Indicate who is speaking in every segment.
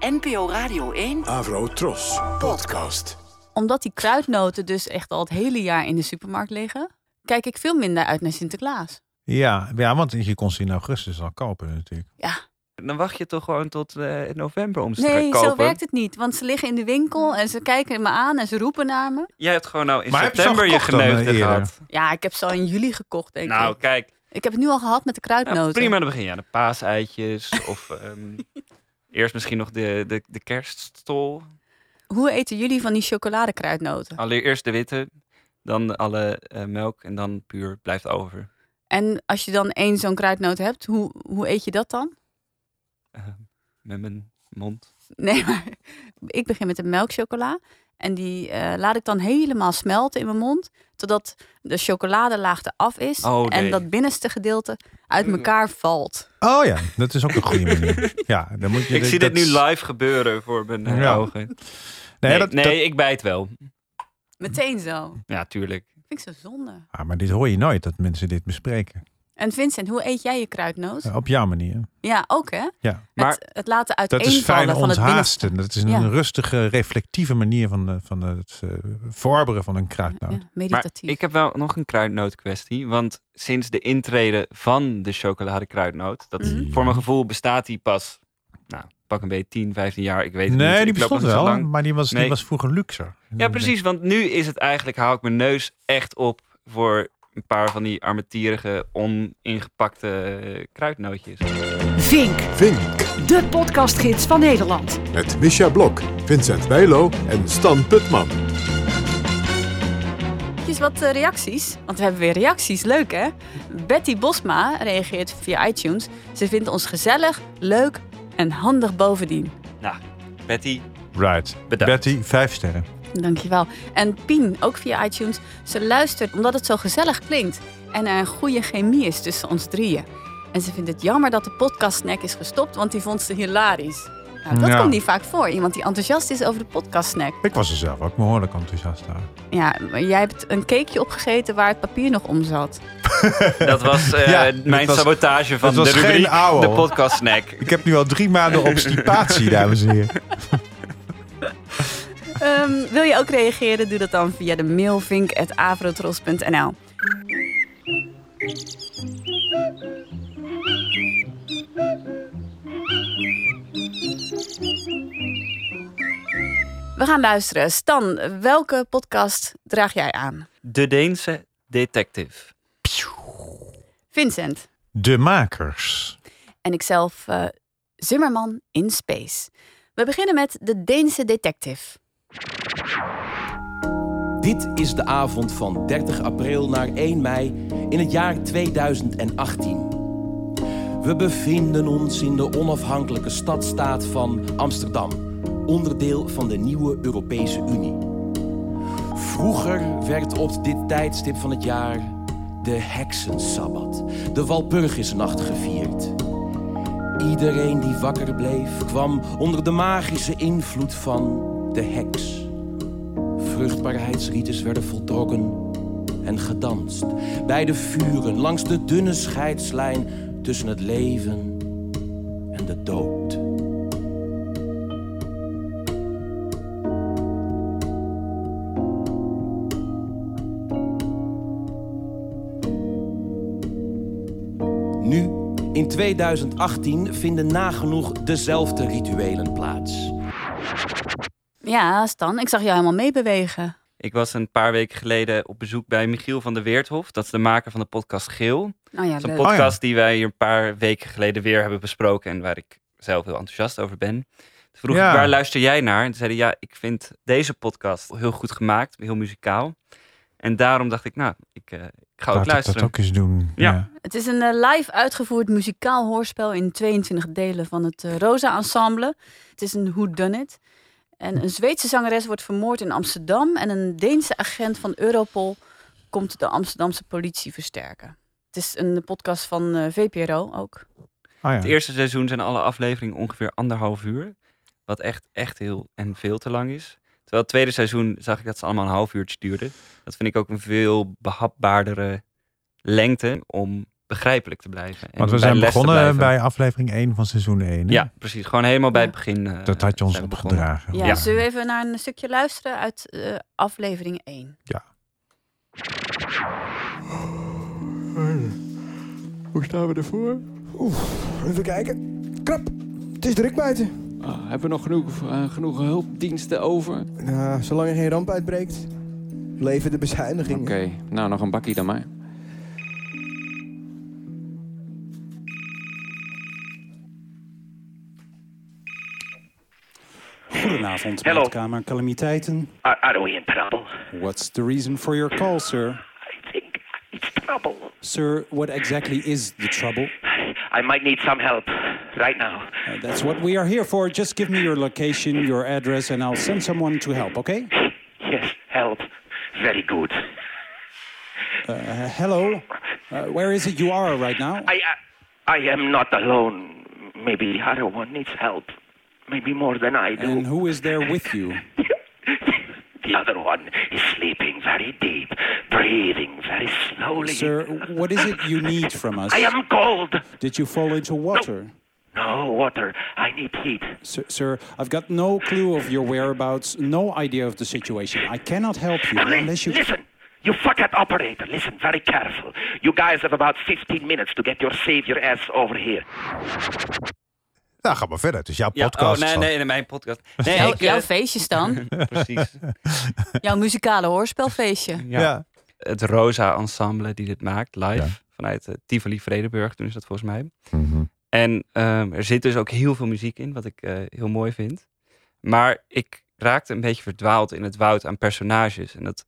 Speaker 1: NPO Radio 1
Speaker 2: Avro Tros. Podcast.
Speaker 3: Omdat die kruidnoten dus echt al het hele jaar in de supermarkt liggen, kijk ik veel minder uit naar Sinterklaas.
Speaker 4: Ja, ja, want je kon ze in augustus al kopen natuurlijk.
Speaker 3: Ja.
Speaker 5: Dan wacht je toch gewoon tot eh, november om ze
Speaker 3: Nee,
Speaker 5: te kopen.
Speaker 3: zo werkt het niet. Want ze liggen in de winkel en ze kijken me aan en ze roepen naar me.
Speaker 5: Jij hebt gewoon nou in
Speaker 4: Maar heb je ze al
Speaker 5: september je,
Speaker 4: gekocht dan,
Speaker 5: geneugde
Speaker 4: eh, eerder?
Speaker 5: gehad.
Speaker 3: Ja, ik heb ze al in juli gekocht, denk
Speaker 5: Nou,
Speaker 3: ik.
Speaker 5: kijk.
Speaker 3: Ik heb het nu al gehad met de
Speaker 5: nou,
Speaker 3: kruidnoten.
Speaker 5: prima, dan begin je aan de paaseitjes. of ehm, eerst misschien nog de, de, de kerststol.
Speaker 3: Hoe eten jullie van die chocoladekruidnoten?
Speaker 5: Allereerst de witte, dan alle eh, melk en dan puur blijft over.
Speaker 3: En als je dan één zo'n kruidnoot hebt, hoe, hoe eet je dat dan?
Speaker 5: Ehm, met mijn mond.
Speaker 3: Nee, maar ik begin met een melkchocola. En die eh, laat ik dan helemaal smelten in mijn mond. Totdat de chocoladelaag eraf is.
Speaker 5: Oh,
Speaker 3: En
Speaker 5: nee.
Speaker 3: dat binnenste gedeelte uit elkaar valt.
Speaker 4: Oh ja, dat is ook een goede manier. Ja, dan moet je
Speaker 5: Ik zie dit
Speaker 4: dat-
Speaker 5: nu live gebeuren voor mijn eh,
Speaker 4: Ja.
Speaker 5: ogen.
Speaker 4: Nee,
Speaker 5: Nee,
Speaker 4: dat,
Speaker 5: nee,
Speaker 4: dat-
Speaker 5: ik bijt wel.
Speaker 3: Meteen zo.
Speaker 5: Ja, tuurlijk.
Speaker 3: Vind ik zo zonde.
Speaker 4: Ah, maar dit hoor je nooit, dat mensen dit bespreken.
Speaker 3: En Vincent, hoe eet jij je kruidnoot? Ja,
Speaker 4: Ja, op jouw manier.
Speaker 3: ook hè?
Speaker 4: Ja.
Speaker 5: Maar-
Speaker 3: het, het laten
Speaker 4: Dat is fijn
Speaker 3: uiteenvallen van het binnenste.
Speaker 4: onthaasten. Dat is een
Speaker 3: Ja.
Speaker 4: rustige, reflectieve manier van, de, van het eh, verorberen van een kruidnoot.
Speaker 3: Ja,
Speaker 5: Maar
Speaker 3: meditatief.
Speaker 5: ik heb wel nog een kruidnootkwestie. Want sinds de intrede van de chocoladekruidnoot, dat is-
Speaker 4: Mhm.
Speaker 5: voor mijn gevoel bestaat die pas, nou, pak een beetje 10, 15 jaar. Ik weet het niet.
Speaker 4: Nee, die
Speaker 5: Ik loop nog
Speaker 4: bestond
Speaker 5: niet zo
Speaker 4: wel,
Speaker 5: lang.
Speaker 4: maar die was, die
Speaker 5: Nee.
Speaker 4: was vroeger luxer.
Speaker 5: Ja, precies. Want nu is het eigenlijk, hou ik mijn neus echt op voor een paar van die armetierige, oningepakte eh, kruidnootjes.
Speaker 6: Vink,
Speaker 2: Vink.
Speaker 6: de podcastgids van Nederland.
Speaker 2: Met Misha Blok, Vincent Bijlo en Stan Putman.
Speaker 3: Eventjes wat eh, reacties, want we hebben weer reacties. Leuk hè? Betty Bosma reageert via iTunes. Ze vindt ons gezellig, leuk en handig bovendien.
Speaker 5: Nou, Betty,
Speaker 4: Right.
Speaker 5: Bedankt.
Speaker 4: Betty, vijf sterren.
Speaker 3: Dankjewel. En Pien, ook via iTunes. Ze luistert omdat het zo gezellig klinkt en er een goede chemie is tussen ons drieën. En ze vindt het jammer dat de podcastsnack is gestopt, want die vond ze hilarisch. Nou, dat
Speaker 4: Ja.
Speaker 3: komt niet vaak voor. Iemand die enthousiast is over de podcastsnack.
Speaker 4: Ik was er zelf ook behoorlijk enthousiast aan.
Speaker 3: Ja, maar jij hebt een cakeje opgegeten waar het papier nog om zat.
Speaker 5: dat was eh,
Speaker 4: Ja,
Speaker 5: mijn
Speaker 4: dat was-
Speaker 5: sabotage van
Speaker 4: dat
Speaker 5: de
Speaker 4: was geen
Speaker 5: rubriek
Speaker 4: ouwe.
Speaker 5: De Podcast Snack.
Speaker 4: Ik heb nu al drie maanden obstipatie, dames en heren.
Speaker 3: Ehm, wil je ook reageren? Doe dat dan via de mail vink.avrotros.nl We gaan luisteren. Stan, welke podcast draag jij aan?
Speaker 5: De Deense Detective.
Speaker 3: Vincent
Speaker 4: De makers.
Speaker 3: en ikzelf, eh, Zimmerman in Space. We beginnen met de Deense detective.
Speaker 7: Dit is de avond van 30 april naar 1 mei in het jaar 2018. We bevinden ons in de onafhankelijke stadstaat van Amsterdam, onderdeel van de nieuwe Europese Unie. Vroeger werd op dit tijdstip van het jaar de Heksensabbat, de Walpurgisnacht gevierd. Iedereen die wakker bleef kwam onder de magische invloed van de heks. Vruchtbaarheidsrites werden voltrokken en gedanst. Bij de vuren langs de dunne scheidslijn tussen het leven en de dood. Nu, in 2018, vinden nagenoeg dezelfde rituelen plaats.
Speaker 3: Ja, Stan, ik zag jou helemaal meebewegen.
Speaker 5: Ik was een paar weken geleden op bezoek bij Michiel van der Weerthof. Dat is de maker van de podcast Geel.
Speaker 3: Nou ja,
Speaker 5: Dat is
Speaker 3: leuk.
Speaker 5: een
Speaker 4: Oh ja.
Speaker 5: podcast die wij hier een paar weken geleden weer hebben besproken. En waar ik zelf heel enthousiast over ben. Toen vroeg
Speaker 4: Ja.
Speaker 5: ik, waar luister jij naar? En toen zeiden ja, ik vind deze podcast heel goed gemaakt. Heel muzikaal. En daarom dacht ik, nou, ik, eh, ik ga ook
Speaker 4: Laat ik
Speaker 5: luisteren.
Speaker 4: dat ook eens doen.
Speaker 5: Ja.
Speaker 3: Het is een eh, live uitgevoerd muzikaal hoorspel in 22 delen van het eh, Rosa Ensemble. Het is een Who Done It. En een Zweedse zangeres wordt vermoord in Amsterdam en een Deense agent van Europol komt de Amsterdamse politie versterken. Het is een podcast van eh, VPRO ook.
Speaker 4: Ah, ja.
Speaker 5: Het eerste seizoen zijn alle afleveringen ongeveer anderhalf uur. Wat echt, echt heel en veel te lang is. Terwijl het tweede seizoen zag ik dat ze allemaal een half uurtje duurden. Dat vind ik ook een veel behapbaardere lengte om begrijpelijk te blijven. En
Speaker 4: Want we
Speaker 5: bij
Speaker 4: zijn
Speaker 5: les te
Speaker 4: begonnen
Speaker 5: blijven.
Speaker 4: bij aflevering 1 van seizoen 1. hè?
Speaker 5: Ja, precies. Gewoon helemaal bij het begin. eh,
Speaker 4: Dat had je ons
Speaker 5: zijn we begonnen.
Speaker 4: opgedragen.
Speaker 3: Ja, zullen we even naar een stukje luisteren uit eh, aflevering 1?
Speaker 1: Hoe staan we ervoor?
Speaker 8: Even kijken. Krap. Het is druk buiten.
Speaker 1: Ah, hebben we nog genoeg, eh, genoeg hulpdiensten over? Oké,
Speaker 8: Nou, zolang er geen ramp uitbreekt, leven de bezuinigingen.
Speaker 1: nou nog een bakkie dan maar.
Speaker 9: Goedenavond, meldkamer Calamiteiten.
Speaker 10: Are, are we in trouble?
Speaker 9: What's the reason for your call, sir?
Speaker 10: I think it's trouble.
Speaker 9: Sir, what exactly is the trouble?
Speaker 10: I might need some help right now.
Speaker 9: Uh, that's what we are here for. Just give me your location, your address, and I'll send someone to help, okay?
Speaker 10: Yes, help. Very good.
Speaker 9: Uh, hello? Uh, where is it you are right now?
Speaker 10: I, I, I am not alone. Maybe the other one needs help. Maybe more than I do.
Speaker 9: And who is there with you?
Speaker 10: the other one is sleeping very deep, breathing very slowly.
Speaker 9: Sir, what is it you need from us?
Speaker 10: I am cold.
Speaker 9: Did you fall into water?
Speaker 10: No water. I need heat.
Speaker 9: Sir, sir, I've got no clue of your whereabouts, no idea of the situation. I cannot help you
Speaker 10: Li-
Speaker 9: unless you.
Speaker 10: Listen, you fuckhead operator. Listen, very careful. You guys have about 15 minutes to get your savior ass over here.
Speaker 4: Nou, ga maar verder. Het is jouw
Speaker 5: Ja,
Speaker 4: podcast.
Speaker 5: oh, nee,
Speaker 4: schat.
Speaker 5: nee, nee, mijn podcast. Nee,
Speaker 3: Jouw-
Speaker 5: ik, eh,
Speaker 3: jouw feestjes dan?
Speaker 5: precies.
Speaker 3: jouw muzikale hoorspelfeestje.
Speaker 5: Ja.
Speaker 4: Ja.
Speaker 5: Het Rosa Ensemble die dit maakt, live. Vanuit eh, Tivoli Vredenburg, toen is dat volgens mij.
Speaker 4: Mhm.
Speaker 5: En ehm, er zit dus ook heel veel muziek in, wat ik eh, heel mooi vind. Maar ik raakte een beetje verdwaald in het woud aan personages. En dat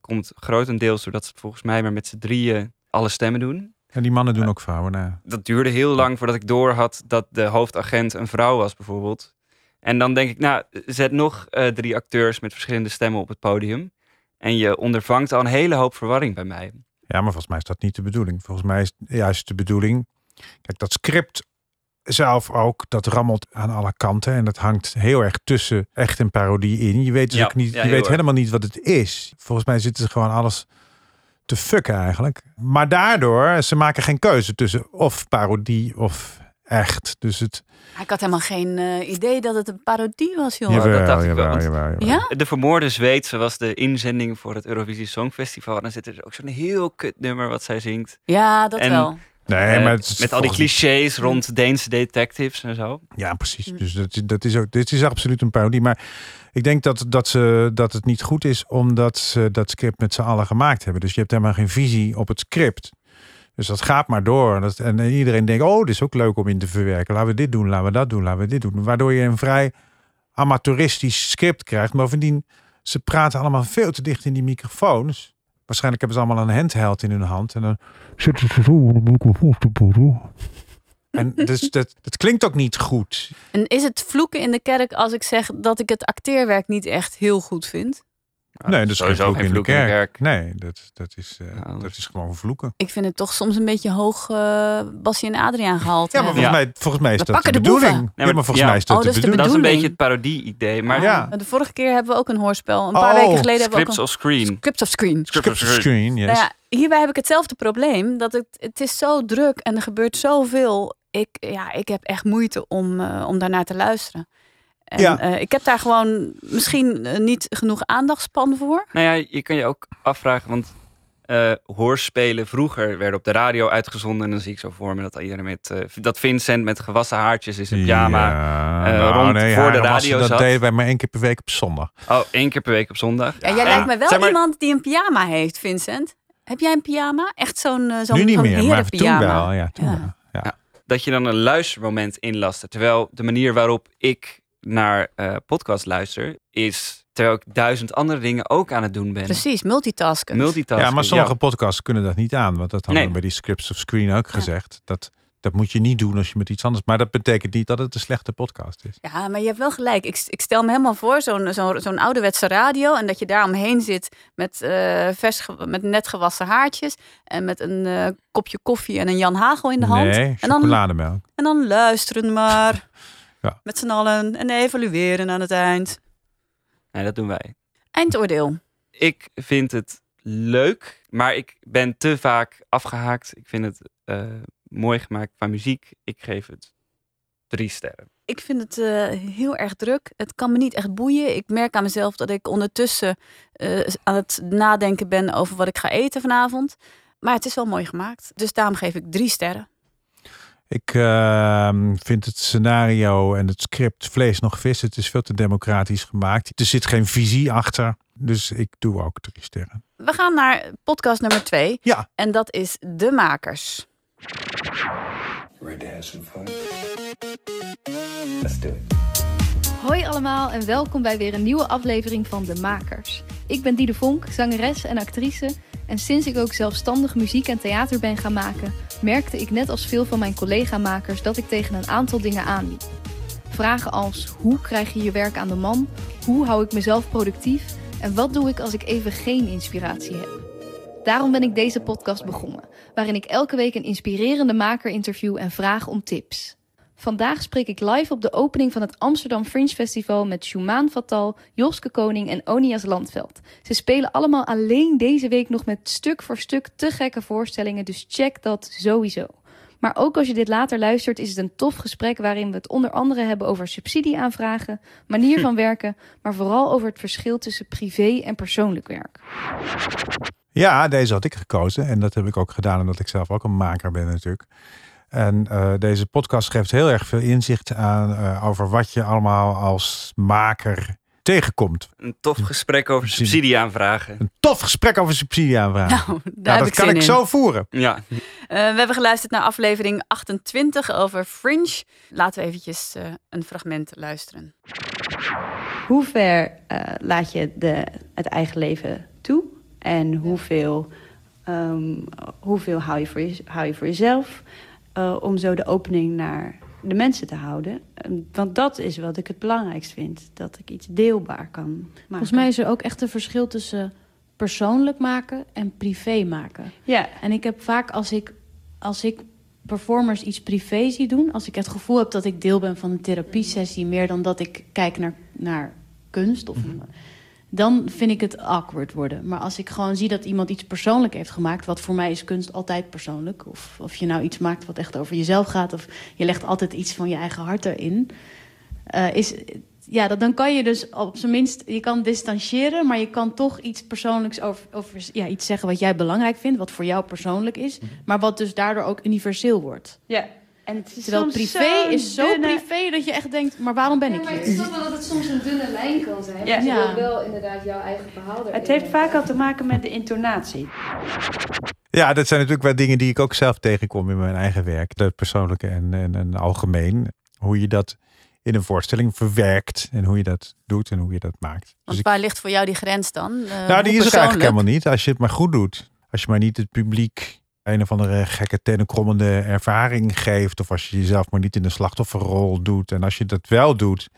Speaker 5: komt grotendeels doordat ze volgens mij maar met z'n drieën alle stemmen doen.
Speaker 4: En die mannen doen ook vrouwen nou na.
Speaker 5: Dat duurde heel lang voordat ik door had dat de hoofdagent een vrouw was, bijvoorbeeld. En dan denk ik, nou, zet nog eh, drie acteurs met verschillende stemmen op het podium. En je ondervangt al een hele hoop verwarring bij mij.
Speaker 4: Ja, maar volgens mij is dat niet de bedoeling. Volgens mij is juist de bedoeling. Kijk, dat script zelf ook, dat rammelt aan alle kanten. En dat hangt heel erg tussen echt en parodie in. Je weet, dus
Speaker 5: Ja,
Speaker 4: ook niet,
Speaker 5: ja,
Speaker 4: je
Speaker 5: heel
Speaker 4: weet
Speaker 5: erg.
Speaker 4: helemaal niet wat het is. Volgens mij zitten ze gewoon alles te fucken eigenlijk. Maar daardoor, ze maken geen keuze tussen of parodie of echt. Dus het...
Speaker 3: Ik had helemaal geen eh, idee dat het een parodie was, joh.
Speaker 5: Jawel. dat dacht ik wel,
Speaker 4: jawel,
Speaker 5: want-
Speaker 4: jawel, jawel.
Speaker 3: Ja?
Speaker 5: De Vermoorde Zweedse was de inzending voor het Eurovisie Songfestival. En dan zit er dus ook zo'n heel kut nummer wat zij zingt.
Speaker 3: Ja, dat
Speaker 5: En-
Speaker 3: wel.
Speaker 4: Nee,
Speaker 5: Eh,
Speaker 4: maar het is
Speaker 5: met al die
Speaker 4: volgens-
Speaker 5: clichés rond Deense detectives en zo.
Speaker 4: Ja, precies.
Speaker 3: Mm.
Speaker 4: Dus dat, dat is ook, dit is absoluut een parodie. Maar ik denk dat, dat, ze, dat het niet goed is omdat ze dat script met z'n allen gemaakt hebben. Dus je hebt helemaal geen visie op het script. Dus dat gaat maar door. Dat, en iedereen denkt, oh, dit is ook leuk om in te verwerken. Laten we dit doen, laten we dat doen, laten we dit doen. Waardoor je een vrij amateuristisch script krijgt. Bovendien, ze praten allemaal veel te dicht in die microfoons. Waarschijnlijk hebben ze allemaal een handheld in hun hand. En dan zitten ze zo in de microfoon te praten. En dus dat, dat klinkt ook niet goed.
Speaker 3: En is het vloeken in de kerk als ik zeg dat ik het acteerwerk niet echt heel goed vind?
Speaker 4: nee, dat is Ah, sowieso geen vloek, in, de kerk. Nee, dat, dat, is, eh,
Speaker 3: Nou,
Speaker 5: Ja,
Speaker 4: dat
Speaker 5: dat-
Speaker 4: is gewoon vloeken.
Speaker 3: Ik vind het toch soms een beetje hoog eh Bassie en Adriaan gehaald. eh.
Speaker 4: Ja, maar
Speaker 3: hebben.
Speaker 4: volgens, Mij, volgens mij is
Speaker 3: We
Speaker 4: dat de
Speaker 3: pakken de boeven.
Speaker 4: bedoeling.
Speaker 5: maar-
Speaker 4: ja, maar volgens
Speaker 5: ja.
Speaker 4: mij is dat
Speaker 3: Oh,
Speaker 4: de
Speaker 3: dat is de
Speaker 4: bedoeling.
Speaker 5: Dat is een
Speaker 3: bedoeling.
Speaker 5: beetje het parodie-idee. Maar
Speaker 4: Ja.
Speaker 3: De vorige keer hebben we ook een hoorspel. Een paar
Speaker 4: Oh,
Speaker 3: weken geleden hebben we ook
Speaker 5: scripts
Speaker 3: een
Speaker 5: of screen.
Speaker 3: script of screen.
Speaker 5: Script of screen.
Speaker 4: Screen, yes.
Speaker 3: Nou ja, hierbij heb ik hetzelfde probleem. Dat het, het is zo druk en er gebeurt zoveel. Ik, ja, ik heb echt moeite om, eh, om daarnaar te luisteren. En,
Speaker 4: Ja.
Speaker 3: eh, ik heb daar gewoon misschien eh, niet genoeg aandachtspan voor.
Speaker 5: Nou ja, je kan je ook afvragen, want eh, hoorspelen vroeger werden op de radio uitgezonden. En dan zie ik zo voor me dat, iedereen met, eh, dat Vincent met gewassen haartjes is in pyjama.
Speaker 4: Ja,
Speaker 5: eh,
Speaker 4: nou,
Speaker 5: rond
Speaker 4: nee,
Speaker 5: voor
Speaker 4: ja,
Speaker 5: de
Speaker 4: dan was-
Speaker 5: radio
Speaker 4: Dat
Speaker 5: zat.
Speaker 4: deden wij maar één keer per week op zondag.
Speaker 5: Oh, één keer per week op zondag.
Speaker 3: Ja, jij
Speaker 5: En-
Speaker 3: lijkt me wel
Speaker 5: zeg maar-
Speaker 3: iemand die een pyjama heeft, Vincent. Heb jij een pyjama? Echt zo'n eh, zo'n
Speaker 4: nu niet
Speaker 3: zo'n
Speaker 4: meer, maar toen
Speaker 3: herenpyjama?
Speaker 4: wel. Ja, toen
Speaker 3: Ja.
Speaker 4: wel. Ja.
Speaker 5: dat je dan een luistermoment inlaste. Terwijl de manier waarop ik naar eh podcast luister, is terwijl ik duizend andere dingen ook aan het doen ben.
Speaker 3: Precies, multitasken.
Speaker 5: Multitasken.
Speaker 4: ja, maar sommige podcasts kunnen dat niet aan. Want dat hadden
Speaker 5: Nee.
Speaker 4: we bij die scripts of screen ook gezegd. Dat, dat moet je niet doen als je met iets anders... Maar dat betekent niet dat het een slechte podcast is.
Speaker 3: Ja, maar je hebt wel gelijk. Ik, ik stel me helemaal voor zo'n zo'n zo'n ouderwetse radio. En dat je daar omheen zit met, eh, vers, ge- met net gewassen haartjes. En met een eh, kopje koffie en een Jan Hagel in de hand.
Speaker 4: Nee,
Speaker 3: en, dan,
Speaker 4: chocolademelk.
Speaker 3: en dan luisteren maar.
Speaker 4: Ja.
Speaker 3: Met z'n allen. En evalueren aan het eind.
Speaker 5: Nee, dat doen wij.
Speaker 3: Eindoordeel.
Speaker 5: Ik vind het leuk, maar ik ben te vaak afgehaakt. Ik vind het eh, mooi gemaakt qua muziek. Ik geef het drie sterren.
Speaker 3: Ik vind het eh, heel erg druk. Het kan me niet echt boeien. Ik merk aan mezelf dat ik ondertussen eh, aan het nadenken ben over wat ik ga eten vanavond. Maar het is wel mooi gemaakt. Dus daarom geef ik drie sterren.
Speaker 4: Ik ehm, vind het scenario en het script vlees nog vis. Het is veel te democratisch gemaakt. Er zit geen visie achter. Dus ik doe ook drie sterren.
Speaker 3: We gaan naar podcast nummer twee.
Speaker 4: Ja.
Speaker 3: En dat is De Makers.
Speaker 11: Hoi allemaal en welkom bij weer een nieuwe aflevering van De Makers. Ik ben Diede Vonk, zangeres en actrice. En sinds ik ook zelfstandig muziek en theater ben gaan maken, merkte ik net als veel van mijn collega-makers dat ik tegen een aantal dingen aanliep. Vragen als hoe krijg je je werk aan de man? Hoe hou ik mezelf productief? En wat doe ik als ik even geen inspiratie heb? Daarom ben ik deze podcast begonnen, waarin ik elke week een inspirerende maker interview en vraag om tips. Vandaag spreek ik live op de opening van het Amsterdam Fringe Festival met Shumaan Fatal, Joske Koning en Onias Landveld. Ze spelen allemaal alleen deze week nog met stuk voor stuk te gekke voorstellingen, dus check dat sowieso. Maar ook als je dit later luistert, is het een tof gesprek waarin we het onder andere hebben over subsidieaanvragen, manier van werken, maar vooral over het verschil tussen privé en persoonlijk werk.
Speaker 4: Ja, deze had ik gekozen. En dat heb ik ook gedaan omdat ik zelf ook een maker ben natuurlijk. En eh, deze podcast geeft heel erg veel inzicht aan eh, over wat je allemaal als maker tegenkomt.
Speaker 5: Een tof gesprek over
Speaker 4: Subsidie.
Speaker 5: subsidieaanvragen.
Speaker 4: Een tof gesprek over subsidieaanvragen.
Speaker 3: Nou, daar
Speaker 4: Nou,
Speaker 3: heb
Speaker 4: dat
Speaker 3: ik
Speaker 4: kan
Speaker 3: zin
Speaker 4: ik
Speaker 3: in.
Speaker 4: zo voeren.
Speaker 5: Ja,
Speaker 3: Eh, we hebben geluisterd naar aflevering 28 over Fringe. Laten we eventjes eh, een fragment luisteren.
Speaker 11: Hoe ver eh, laat je de, het eigen leven toe? En hoeveel, ehm, hoeveel hou, je voor je, hou je voor jezelf? eh, om zo de opening naar de mensen te houden. En- Want dat is wat ik het belangrijkst vind. Dat ik iets deelbaar kan maken. Volgens mij is er ook echt een verschil tussen persoonlijk maken en privé maken. Ja. En ik heb vaak als ik, als ik performers iets privé zie doen... als ik het gevoel heb dat ik deel ben van een therapiesessie... meer dan dat ik kijk naar, naar kunst. Of, Dan vind ik het awkward worden. Maar als ik gewoon zie dat iemand iets persoonlijk heeft gemaakt... wat voor mij is kunst altijd persoonlijk. Of, of je nou iets maakt wat echt over jezelf gaat... of je legt altijd iets van je eigen hart erin. eh, is, ja, dat, dan kan je dus op zijn minst... je kan distancieren, maar je kan toch iets persoonlijks... over, over ja, iets zeggen wat jij belangrijk vindt... wat voor jou persoonlijk is... maar wat dus daardoor ook universeel wordt. Ja. En het is Terwijl privé is zo privé dat je echt denkt... maar waarom ben ik hier?
Speaker 9: Ik snap wel dat het soms een dunne lijn kan zijn.
Speaker 11: Ja.
Speaker 9: Je wil
Speaker 11: Ja.
Speaker 9: wel inderdaad jouw eigen verhaal erin.
Speaker 11: Het heeft vaak al te maken met de intonatie.
Speaker 4: Ja, dat zijn natuurlijk wel dingen die ik ook zelf tegenkom in mijn eigen werk. Dat persoonlijke en, en, en algemeen. Hoe je dat in een voorstelling verwerkt. En hoe je dat doet en hoe je dat maakt.
Speaker 3: Want
Speaker 4: Dus ik,
Speaker 3: waar ligt voor jou die grens dan? Eh,
Speaker 4: nou,
Speaker 3: hoe
Speaker 4: die is er
Speaker 3: persoonlijk?
Speaker 4: eigenlijk helemaal niet. Als je het maar goed doet. Als je maar niet het publiek een of andere gekke tenenkrommende ervaring geeft. Of als je jezelf maar niet in de slachtofferrol doet. En als je dat wel doet,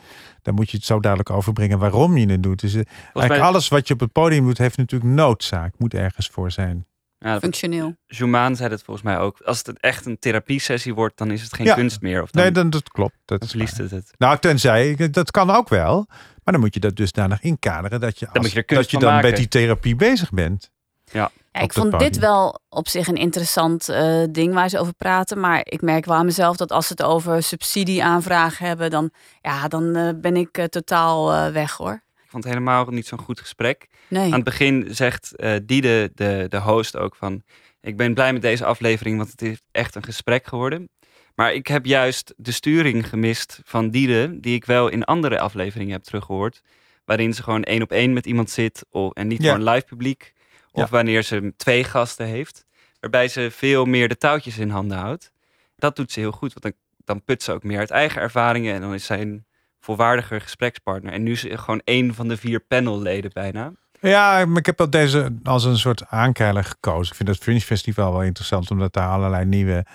Speaker 4: dan moet je het zo duidelijk overbrengen waarom je het doet. Dus eh, eigenlijk
Speaker 5: mij-
Speaker 4: alles wat je op het podium doet, heeft natuurlijk noodzaak. Moet ergens voor zijn.
Speaker 5: ja
Speaker 3: Functioneel.
Speaker 5: Jumaan zei dat volgens mij ook. Als het echt een therapiesessie wordt, dan is het geen
Speaker 4: Ja.
Speaker 5: kunst meer. Of dan,
Speaker 4: Nee, dan, dat klopt. Dat
Speaker 5: dan
Speaker 4: is
Speaker 5: verliest
Speaker 4: waar.
Speaker 5: het het.
Speaker 4: Nou, tenzij, dat kan ook wel. Maar dan moet je dat dusdanig inkaderen dat je, als,
Speaker 5: moet je er kunst
Speaker 4: dat je
Speaker 5: van
Speaker 4: dan
Speaker 5: maken.
Speaker 4: met die therapie bezig bent.
Speaker 3: Ja,
Speaker 4: Op
Speaker 3: ik
Speaker 4: dat
Speaker 3: vond dit
Speaker 4: podium.
Speaker 3: wel op zich een interessant eh, ding waar ze over praten. Maar ik merk wel aan mezelf dat als ze het over subsidieaanvraag hebben, dan, ja, dan eh, ben ik eh, totaal eh, weg hoor.
Speaker 5: Ik vond het helemaal niet zo'n goed gesprek.
Speaker 3: Nee.
Speaker 5: Aan het begin zegt eh Diede, de, de host, ook van... Ik ben blij met deze aflevering, want het is echt een gesprek geworden. Maar ik heb juist de sturing gemist van Diede... die ik wel in andere afleveringen heb teruggehoord. Waarin ze gewoon één op één met iemand zit... Of, en niet
Speaker 4: Ja.
Speaker 5: voor een live publiek. Of
Speaker 4: Ja.
Speaker 5: wanneer ze twee gasten heeft. Waarbij ze veel meer de touwtjes in handen houdt. Dat doet ze heel goed, want dan, dan put ze ook meer uit eigen ervaringen... en dan is zij een volwaardiger gesprekspartner. En nu is ze gewoon één van de vier panelleden bijna.
Speaker 4: Ja, maar ik heb wel deze als een soort aankeiler gekozen. Ik vind het Fringe Festival wel interessant, omdat daar allerlei nieuwe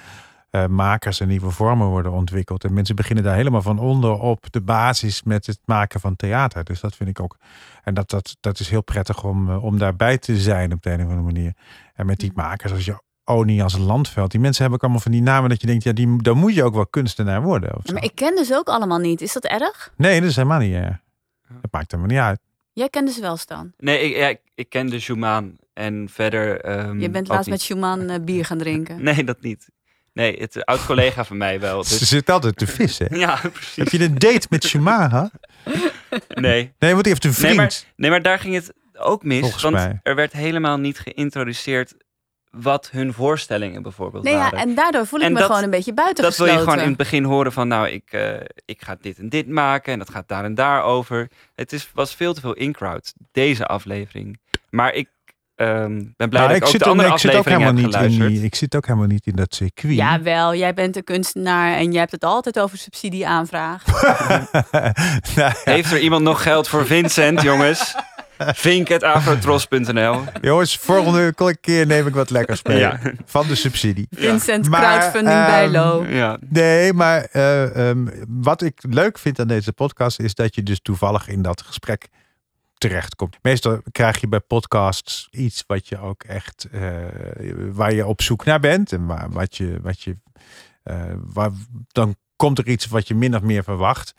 Speaker 4: eh, makers en nieuwe vormen worden ontwikkeld. En mensen beginnen daar helemaal van onder op de basis met het maken van theater. Dus dat vind ik ook. En dat, dat, dat is heel prettig om, eh, om daarbij te zijn op de een of andere manier. En met
Speaker 3: Mm.
Speaker 4: die makers, als je Oni als Landveld. Die mensen hebben ook allemaal van die namen dat je denkt, ja, die, dan moet je ook wel kunstenaar worden. Of
Speaker 3: Ja,
Speaker 4: zo.
Speaker 3: maar ik ken dus ook allemaal niet. Is dat erg?
Speaker 4: Nee, dat is helemaal niet. eh, Dat maakt helemaal niet uit.
Speaker 3: Jij kende ze dus wel, Stan.
Speaker 5: Nee, ik, ja, ik, ik kende Jumaan. En verder. ehm,
Speaker 3: Je bent
Speaker 5: ook
Speaker 3: laatst
Speaker 5: niet.
Speaker 3: met Schumann eh, bier gaan drinken.
Speaker 5: Nee, dat niet. Nee, het oud collega van mij wel.
Speaker 4: Ze
Speaker 5: Dus,
Speaker 4: zit altijd te vissen.
Speaker 5: ja, precies.
Speaker 4: Heb je een date met Shumaha?
Speaker 5: Nee.
Speaker 4: Nee, want die heeft een
Speaker 5: Nee
Speaker 4: vriend.
Speaker 5: maar, nee, maar daar ging het ook mis.
Speaker 4: Volgens
Speaker 5: want
Speaker 4: mij.
Speaker 5: er werd helemaal niet geïntroduceerd wat hun voorstellingen bijvoorbeeld
Speaker 3: Nee, ja,
Speaker 5: waren.
Speaker 3: en daardoor voel ik
Speaker 5: En
Speaker 3: me
Speaker 5: dat-
Speaker 3: gewoon een beetje
Speaker 5: dat wil je
Speaker 3: buitengesloten.
Speaker 5: gewoon in het begin horen van, nou, ik, eh, ik ga dit en dit maken en dat gaat daar en daar over. Het is, was veel te veel in-crowd, deze aflevering. Maar ik ehm, ben blij
Speaker 4: Nou,
Speaker 5: dat
Speaker 4: ik
Speaker 5: ik ook
Speaker 4: zit,
Speaker 5: de
Speaker 4: ook,
Speaker 5: andere
Speaker 4: ik, zit ook
Speaker 5: afleveringen
Speaker 4: helemaal
Speaker 5: heb
Speaker 4: niet in
Speaker 5: geluisterd.
Speaker 4: die, ik zit ook helemaal niet in dat circuit.
Speaker 3: Jawel, jij bent een kunstenaar en jij hebt het altijd over subsidieaanvraag.
Speaker 4: Nou ja.
Speaker 5: Heeft er iemand nog geld voor Vincent, jongens? Vink.afrotros.nl
Speaker 4: Jongens, volgende keer neem ik wat lekkers mee.
Speaker 5: Ja.
Speaker 4: Van de subsidie.
Speaker 3: Vincent,
Speaker 4: Maar,
Speaker 3: crowdfunding bij
Speaker 4: ehm,
Speaker 3: Lo.
Speaker 5: Ja,
Speaker 4: Nee, maar eh, ehm, wat ik leuk vind aan deze podcast is dat je dus toevallig in dat gesprek terechtkomt. Meestal krijg je bij podcasts iets wat je ook echt eh, waar je op zoek naar bent en waar, wat je wat je eh, waar, dan komt er iets wat je min of meer verwacht.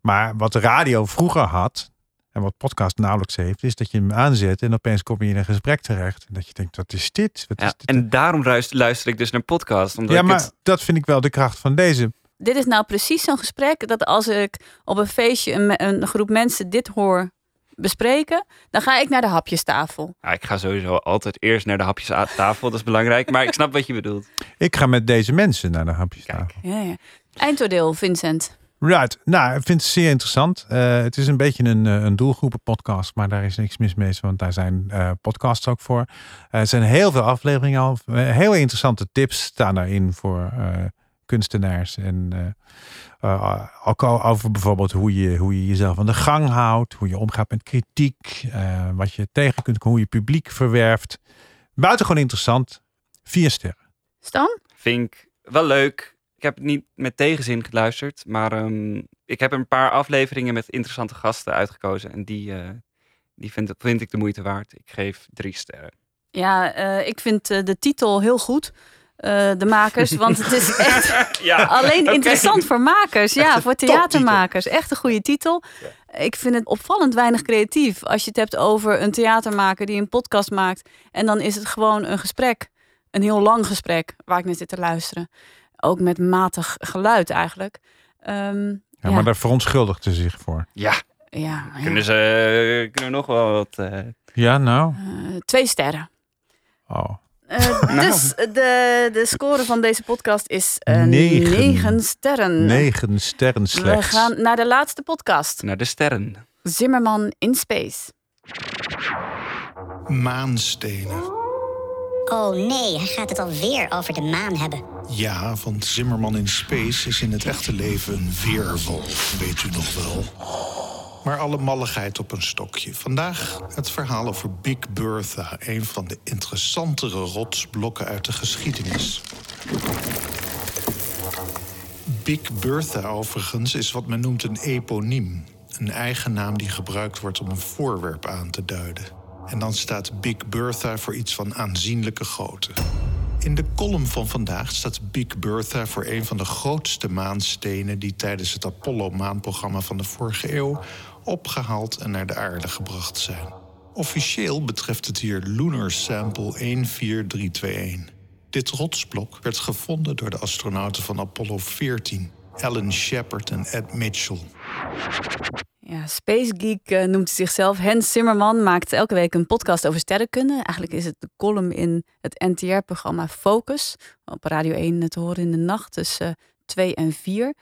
Speaker 4: Maar wat radio vroeger had en wat podcast nauwelijks heeft, is dat je hem aanzet en opeens kom je in een gesprek terecht en dat je denkt: wat is dit? Wat
Speaker 5: ja.
Speaker 4: is dit?
Speaker 5: En daarom ruis- luister ik dus naar podcast. Omdat
Speaker 4: ja,
Speaker 5: ik
Speaker 4: maar
Speaker 5: het-
Speaker 4: dat vind ik wel de kracht van deze
Speaker 3: Dit is nou precies zo'n gesprek dat als ik op een feestje een, me- een groep mensen dit hoor bespreken, dan ga ik naar de hapjestafel.
Speaker 5: Ja, Ah, ik ga sowieso altijd eerst naar de hapjes aan tafel, dat is belangrijk. Maar ik snap wat je bedoelt.
Speaker 4: Ik ga met deze mensen naar de hapjestafel.
Speaker 3: Ja, ja. Eindoordeel, Vincent.
Speaker 4: Right. Nou, ik vind het zeer interessant. Eh, het is een beetje een, eh, een doelgroepenpodcast, maar daar is niks mis mee, want daar zijn eh, podcasts ook voor. Eh, er zijn heel veel afleveringen al. Eh, heel interessante tips staan daarin voor eh, kunstenaars. En eh, eh, ook al over bijvoorbeeld hoe je, hoe je jezelf aan de gang houdt, hoe je omgaat met kritiek, eh, wat je tegen kunt komen, hoe je publiek verwerft. Buitengewoon interessant. Vier sterren.
Speaker 3: Stan?
Speaker 5: Vink, wel leuk. Ik heb het niet met tegenzin geluisterd, maar ehm, ik heb een paar afleveringen met interessante gasten uitgekozen. En die, eh, die vind, vind ik de moeite waard. Ik geef drie sterren.
Speaker 3: Ja, eh, ik vind eh, de titel heel goed. eh, de makers, want het is echt
Speaker 5: Ja,
Speaker 3: alleen
Speaker 5: oké.
Speaker 3: interessant voor makers.
Speaker 5: Echt
Speaker 3: Ja,
Speaker 5: een
Speaker 3: voor theatermakers. Echt een goede titel. Ik vind het opvallend weinig creatief als je het hebt over een theatermaker die een podcast maakt. En dan is het gewoon een gesprek. Een heel lang gesprek waar ik naar zit te luisteren. Ook met matig geluid eigenlijk. Ehm,
Speaker 4: Ja, maar daar verontschuldigt ze zich voor.
Speaker 5: Ja,
Speaker 3: ja, ja.
Speaker 5: kunnen ze kunnen we nog wel wat. eh,
Speaker 4: Ja, nou.
Speaker 3: Eh, twee sterren.
Speaker 4: Oh.
Speaker 3: Eh, Dus de, de score van deze podcast is eh,
Speaker 4: Negen.
Speaker 3: negen. sterren.
Speaker 4: Negen sterren
Speaker 3: We
Speaker 4: slechts.
Speaker 3: gaan naar de laatste podcast.
Speaker 5: naar de sterren.
Speaker 3: Zimmerman in Space.
Speaker 12: Maanstenen.
Speaker 13: Oh nee, hij gaat het alweer over de maan hebben.
Speaker 12: Ja, want Zimmerman in Space is in het echte leven een weerwolf, weet u nog wel. Maar alle malligheid op een stokje. Vandaag het verhaal over Big Bertha, een van de interessantere rotsblokken uit de geschiedenis. Big Bertha overigens is wat men noemt een eponiem. Een eigen naam die gebruikt wordt om een voorwerp aan te duiden. En dan staat Big Bertha voor iets van aanzienlijke grootte. In de column van vandaag staat Big Bertha voor een van de grootste maanstenen die tijdens het Apollo-maanprogramma van de vorige eeuw opgehaald en naar de aarde gebracht zijn. Officieel betreft het hier Lunar Sample 14321. Dit rotsblok werd gevonden door de astronauten van Apollo 14, Alan Shepard en Ed Mitchell.
Speaker 3: Ja, Space Geek eh, noemt hij zichzelf. Hans Zimmerman maakt elke week een podcast over sterrenkunde. Eigenlijk is het de column in het NTR-programma Focus. Op Radio 1 te horen in de nacht tussen eh, 2 en 4.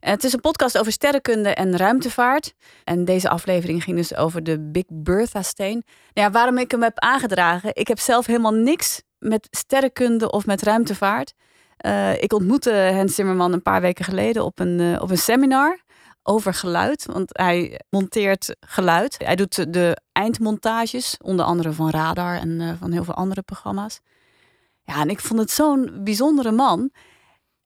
Speaker 3: Eh, het is een podcast over sterrenkunde en ruimtevaart. En deze aflevering ging dus over de Big Bertha-steen. Nou ja, waarom ik hem heb aangedragen? Ik heb zelf helemaal niks met sterrenkunde of met ruimtevaart. Eh, ik ontmoette Hans Zimmerman een paar weken geleden op een, eh, op een seminar over geluid. Want hij monteert geluid. Hij doet de- de eindmontages, onder andere van Radar en eh, van heel veel andere programma's. Ja, en ik vond het zo'n bijzondere man.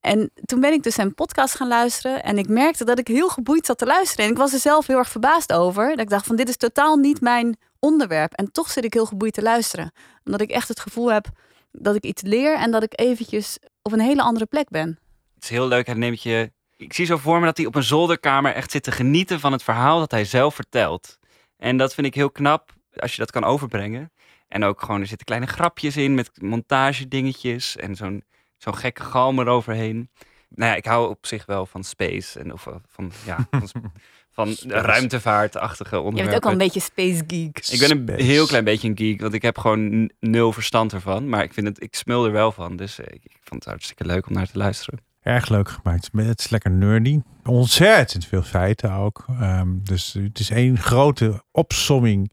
Speaker 3: En toen ben ik dus zijn podcast gaan luisteren. En ik merkte dat ik heel geboeid zat te luisteren. En ik was er zelf heel erg verbaasd over. Dat ik dacht van dit is totaal niet mijn onderwerp. En toch zit ik heel geboeid te luisteren. Omdat ik echt het gevoel heb dat ik iets leer. En dat ik eventjes op een hele andere plek ben.
Speaker 5: Het is heel leuk. Hij neemt je. Ik zie zo voor me dat hij op een zolderkamer echt zit te genieten van het verhaal dat hij zelf vertelt. En dat vind ik heel knap als je dat kan overbrengen. En ook gewoon, er zitten kleine grapjes in met montagedingetjes en zo'n zo'n gekke galm eroverheen. Nou ja, ik hou op zich wel van space en of eh, van, ja, van, sp- van de ruimtevaartachtige
Speaker 3: Je
Speaker 5: onderwerpen.
Speaker 3: bent ook al een beetje space geek.
Speaker 5: Ik ben een heel klein beetje een geek, want ik heb gewoon n- nul verstand ervan. Maar ik vind het, ik smul er wel van. Dus eh, ik, ik vond het hartstikke leuk om naar te luisteren.
Speaker 4: Erg leuk gemaakt. Het is lekker nerdy. Ontzettend veel feiten ook. Ehm, dus het is één grote opsomming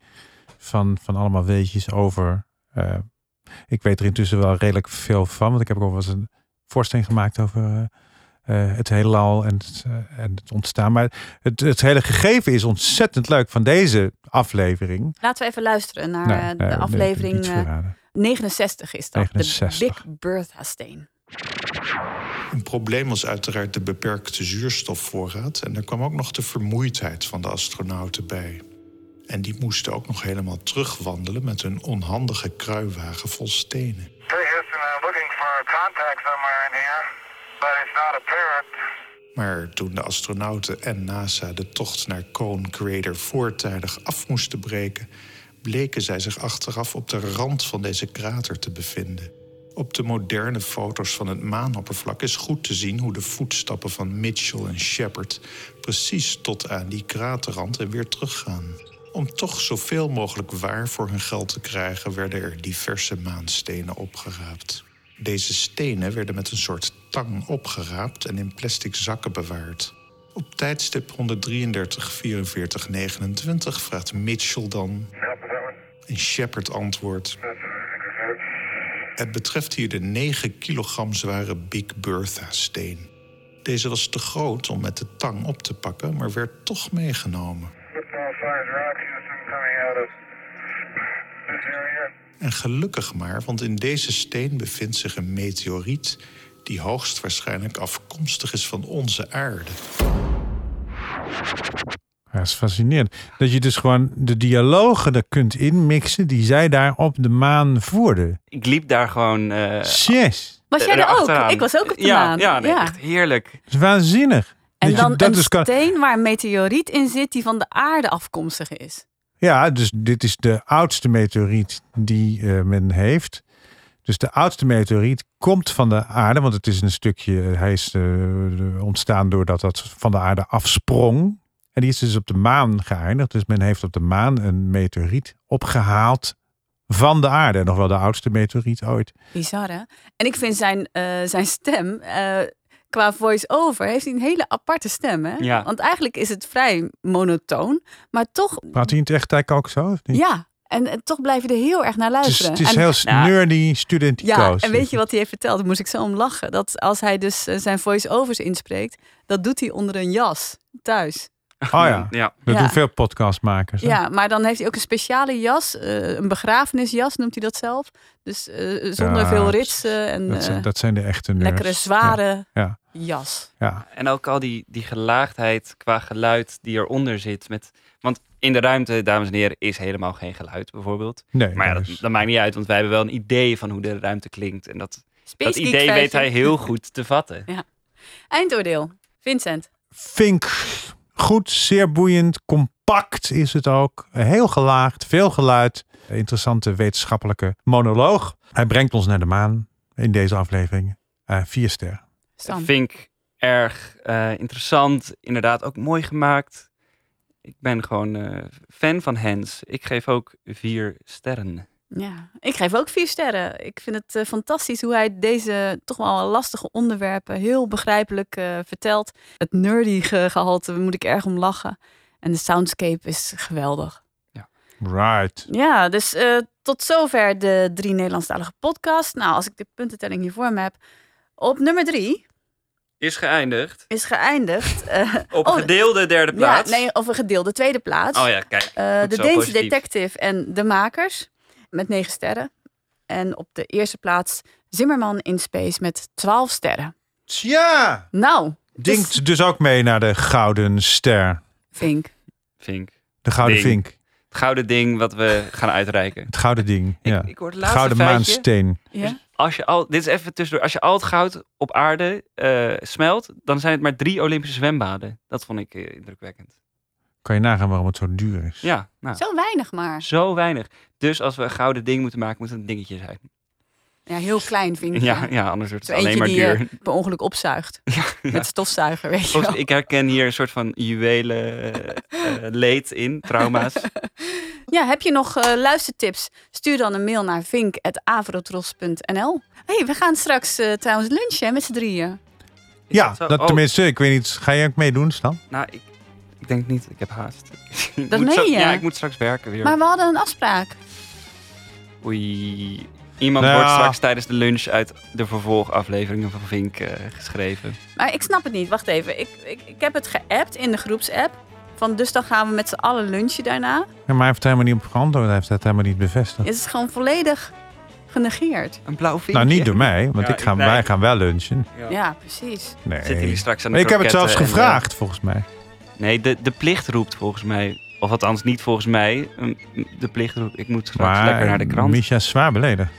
Speaker 4: van, van allemaal weetjes over. eh, ik weet er intussen wel redelijk veel van. Want ik heb ook al wel eens een voorstelling gemaakt over eh, eh, het heelal en het, eh, en het ontstaan. Maar het, het hele gegeven is ontzettend leuk van deze aflevering.
Speaker 3: Laten we even luisteren naar
Speaker 4: Nou,
Speaker 3: eh, de
Speaker 4: nou, nee,
Speaker 3: aflevering
Speaker 4: niets
Speaker 3: eh,
Speaker 4: verraden.
Speaker 3: 69 is dat.
Speaker 12: 69.
Speaker 3: De Big Bertha steen.
Speaker 12: Een probleem was uiteraard de beperkte zuurstofvoorraad en er kwam ook nog de vermoeidheid van de astronauten bij. En die moesten ook nog helemaal terugwandelen met hun onhandige kruiwagen vol stenen. Maar toen de astronauten en NASA de tocht naar Cone Crater voortijdig af moesten breken, bleken zij zich achteraf op de rand van deze krater te bevinden. Op de moderne foto's van het maanoppervlak is goed te zien hoe de voetstappen van Mitchell en Shepard precies tot aan die kraterrand en weer teruggaan. Om toch zoveel mogelijk waar voor hun geld te krijgen, werden er diverse maanstenen opgeraapt. Deze stenen werden met een soort tang opgeraapt en in plastic zakken bewaard. Op tijdstip 133 44 29 vraagt Mitchell dan. En Shepard antwoordt. Het betreft hier de 9 kilogram zware Big Bertha-steen. Deze was te groot om met de tang op te pakken, maar werd toch meegenomen. En gelukkig maar, want in deze steen bevindt zich een meteoriet die hoogstwaarschijnlijk afkomstig is van onze aarde.
Speaker 4: Ja, dat is fascinerend. Dat je dus gewoon de dialogen er kunt inmixen die zij daar op de maan voerden.
Speaker 5: Ik liep daar gewoon. eh,
Speaker 4: Yes.
Speaker 3: Was jij er ook?
Speaker 5: erachteraan.
Speaker 3: Ik was ook op de
Speaker 5: ja,
Speaker 3: maan.
Speaker 5: Ja, nee,
Speaker 3: Ja.
Speaker 5: echt heerlijk.
Speaker 4: Dat is waanzinnig.
Speaker 3: En
Speaker 4: Dat je
Speaker 3: dan
Speaker 4: dat
Speaker 3: een
Speaker 4: dus kan-
Speaker 3: steen waar een meteoriet in zit die van de aarde afkomstig is.
Speaker 4: Ja, dus dit is de oudste meteoriet die eh, men heeft. Dus de oudste meteoriet komt van de aarde, want het is een stukje, hij is eh, ontstaan doordat dat van de aarde afsprong. En die is dus op de maan geëindigd. Dus men heeft op de maan een meteoriet opgehaald van de aarde. Nog wel de oudste meteoriet ooit.
Speaker 3: Bizar, hè? En ik vind zijn, eh, zijn stem, eh, qua voice-over, heeft hij een hele aparte stem, hè?
Speaker 4: Ja.
Speaker 3: Want eigenlijk is het vrij monotoon, maar toch,
Speaker 4: Praat hij in het echt eigenlijk ook zo? Of niet?
Speaker 3: ja. En, en toch blijf je er heel erg naar
Speaker 4: Het is,
Speaker 3: luisteren.
Speaker 4: het is
Speaker 3: En- Nou,
Speaker 4: heel nerdy, studentico's.
Speaker 3: Ja, en weet je wat hij heeft verteld? Daar moest ik zo om lachen. Dat als hij dus eh, zijn voice-overs inspreekt, dat doet hij onder een jas thuis.
Speaker 4: Oh ja,
Speaker 5: Ja.
Speaker 4: dat
Speaker 3: Ja.
Speaker 4: doen veel podcastmakers. hè?
Speaker 3: Ja, maar dan heeft hij ook een speciale jas, eh, een begrafenisjas noemt hij dat zelf. Dus eh, zonder
Speaker 4: Ja,
Speaker 3: veel ritsen en
Speaker 4: dat, zijn,
Speaker 3: eh,
Speaker 4: dat zijn de echte nerds.
Speaker 3: lekkere zware
Speaker 4: Ja.
Speaker 3: jas.
Speaker 4: Ja.
Speaker 5: En ook al die, die gelaagdheid qua geluid die eronder zit. Met, want in de ruimte, dames en heren, is helemaal geen geluid bijvoorbeeld.
Speaker 4: Nee, dus
Speaker 5: maar ja,
Speaker 4: dat
Speaker 5: dat, dat maakt niet uit, want wij hebben wel een idee van hoe de ruimte klinkt. En dat, dat
Speaker 3: Space Geek
Speaker 5: idee weet
Speaker 3: feitje.
Speaker 5: hij heel goed te vatten.
Speaker 3: Ja. Eindoordeel. Vincent.
Speaker 4: Fink. Goed, zeer boeiend, compact is het ook. Heel gelaagd, veel geluid. Interessante wetenschappelijke monoloog. Hij brengt ons naar de maan in deze aflevering. Eh, vier sterren.
Speaker 3: Sam.
Speaker 5: Vind ik erg eh, interessant. Inderdaad, ook mooi gemaakt. Ik ben gewoon eh, fan van Hans. Ik geef ook vier sterren.
Speaker 3: Ja, ik geef ook vier sterren. Ik vind het eh, fantastisch hoe hij deze toch wel lastige onderwerpen heel begrijpelijk eh, vertelt. Het nerdy ge- gehalte moet ik erg om lachen. En de soundscape is geweldig.
Speaker 4: Right.
Speaker 3: Ja, dus eh, tot zover de drie Nederlandstalige podcast. Nou, als ik de puntentelling hier voor me heb. Op nummer drie
Speaker 5: Is geëindigd
Speaker 3: is geëindigd. eh,
Speaker 5: op
Speaker 3: oh,
Speaker 5: gedeelde derde
Speaker 3: ja,
Speaker 5: plaats.
Speaker 3: nee, of een gedeelde tweede plaats.
Speaker 5: Oh ja, kijk.
Speaker 3: Eh,
Speaker 5: goed
Speaker 3: de
Speaker 5: zo,
Speaker 3: Deense
Speaker 5: positief.
Speaker 3: detective en de makers met negen sterren. En op de eerste plaats Zimmerman in Space met twaalf sterren.
Speaker 4: Tja!
Speaker 3: Nou,
Speaker 4: Dinkt dus ook mee naar de Gouden Ster.
Speaker 3: Vink.
Speaker 5: Vink.
Speaker 4: De Gouden
Speaker 5: Ding.
Speaker 4: Vink.
Speaker 5: Het gouden ding wat we gaan uitreiken.
Speaker 4: Het Gouden Ding. ja.
Speaker 5: ik hoor het
Speaker 4: De
Speaker 5: laatste
Speaker 4: gouden
Speaker 5: feitje.
Speaker 4: Maansteen.
Speaker 5: Als je al, dit is even tussendoor. Als je al het goud op aarde eh, smelt, dan zijn het maar drie Olympische zwembaden. Dat vond ik eh, indrukwekkend.
Speaker 4: Kan je nagaan waarom het zo duur is.
Speaker 5: Ja, nou,
Speaker 3: Zo weinig maar.
Speaker 5: zo weinig. Dus als we een gouden ding moeten maken, moet het een dingetje zijn.
Speaker 3: Ja, heel klein vind ik.
Speaker 5: Ja, ja anders wordt
Speaker 3: Zo
Speaker 5: het alleen
Speaker 3: eentje
Speaker 5: maar
Speaker 3: die eh,
Speaker 5: duur.
Speaker 3: je per ongeluk opzuigt. Met stofzuiger, weet je
Speaker 5: Volgens-
Speaker 3: wel.
Speaker 5: Ik herken hier een soort van juwelen eh, eh, leed in, trauma's.
Speaker 3: Ja, heb je nog eh, luistertips? Stuur dan een mail naar vink.avrotros.nl Hé, hey, we gaan straks eh, trouwens lunchen hè, met z'n drieën.
Speaker 4: ja,
Speaker 5: dat
Speaker 4: dat,
Speaker 5: zo? Oh.
Speaker 4: tenminste, ik weet niet. Ga jij ook meedoen, Stan?
Speaker 5: Nou, ik, ik denk niet. Ik heb haast. Ik
Speaker 3: Dat
Speaker 5: moet
Speaker 3: meen
Speaker 5: zo-
Speaker 3: je?
Speaker 5: Ja, ik moet straks werken weer.
Speaker 3: Maar we hadden een afspraak.
Speaker 5: Oei. Iemand
Speaker 4: Nou
Speaker 5: wordt
Speaker 4: ja.
Speaker 5: straks tijdens de lunch uit de vervolgafleveringen van Vink eh, geschreven.
Speaker 3: Maar ik snap het niet. Wacht even. Ik, ik, ik heb het geappt in de groepsapp. Van dus dan gaan we met z'n allen lunchen daarna.
Speaker 4: Ja, maar hij heeft helemaal niet op geantwoord. Hij heeft het helemaal niet bevestigd.
Speaker 3: Is het gewoon volledig genegeerd.
Speaker 5: Een blauw vinkje.
Speaker 4: nou, niet door mij, want
Speaker 5: Ja,
Speaker 4: ik ga,
Speaker 5: nee.
Speaker 4: wij gaan wel lunchen.
Speaker 3: Ja, precies.
Speaker 4: Nee.
Speaker 5: Zitten jullie straks aan de
Speaker 4: Maar ik heb het zelfs
Speaker 5: kroketten en, eh,
Speaker 4: gevraagd, volgens mij.
Speaker 5: Nee, de, de plicht roept volgens mij. Of althans, niet volgens mij. Een- De plicht roept. Ik moet straks
Speaker 4: Maar
Speaker 5: lekker naar de krant.
Speaker 4: Misha is zwaar beleden.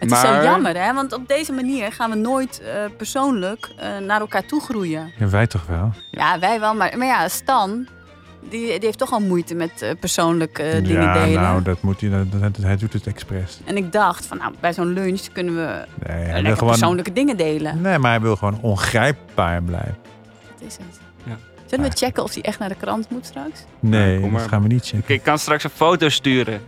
Speaker 3: Het is zo
Speaker 5: Maar-
Speaker 3: jammer, hè? Want op deze manier gaan we nooit eh, persoonlijk eh, naar elkaar toe groeien.
Speaker 4: Ja, wij toch wel?
Speaker 3: Ja, wij wel. Maar, maar ja, Stan, die, die heeft toch al moeite met eh, persoonlijk eh, dingen
Speaker 4: ja,
Speaker 3: delen.
Speaker 4: nou, dat moet hij. Dat, dat- hij doet het expres.
Speaker 3: En ik dacht, van, nou, bij zo'n lunch kunnen we
Speaker 4: Nee, hij wil
Speaker 3: lekker
Speaker 4: gewoon,
Speaker 3: persoonlijke dingen delen.
Speaker 4: nee, maar hij wil gewoon ongrijpbaar blijven.
Speaker 3: Dat is het.
Speaker 5: Ja.
Speaker 3: Zullen we checken of hij echt naar de krant moet straks?
Speaker 5: Ja,
Speaker 4: Nee,
Speaker 5: kom maar.
Speaker 4: dat gaan we niet checken.
Speaker 5: Ik- Ik kan straks een foto sturen.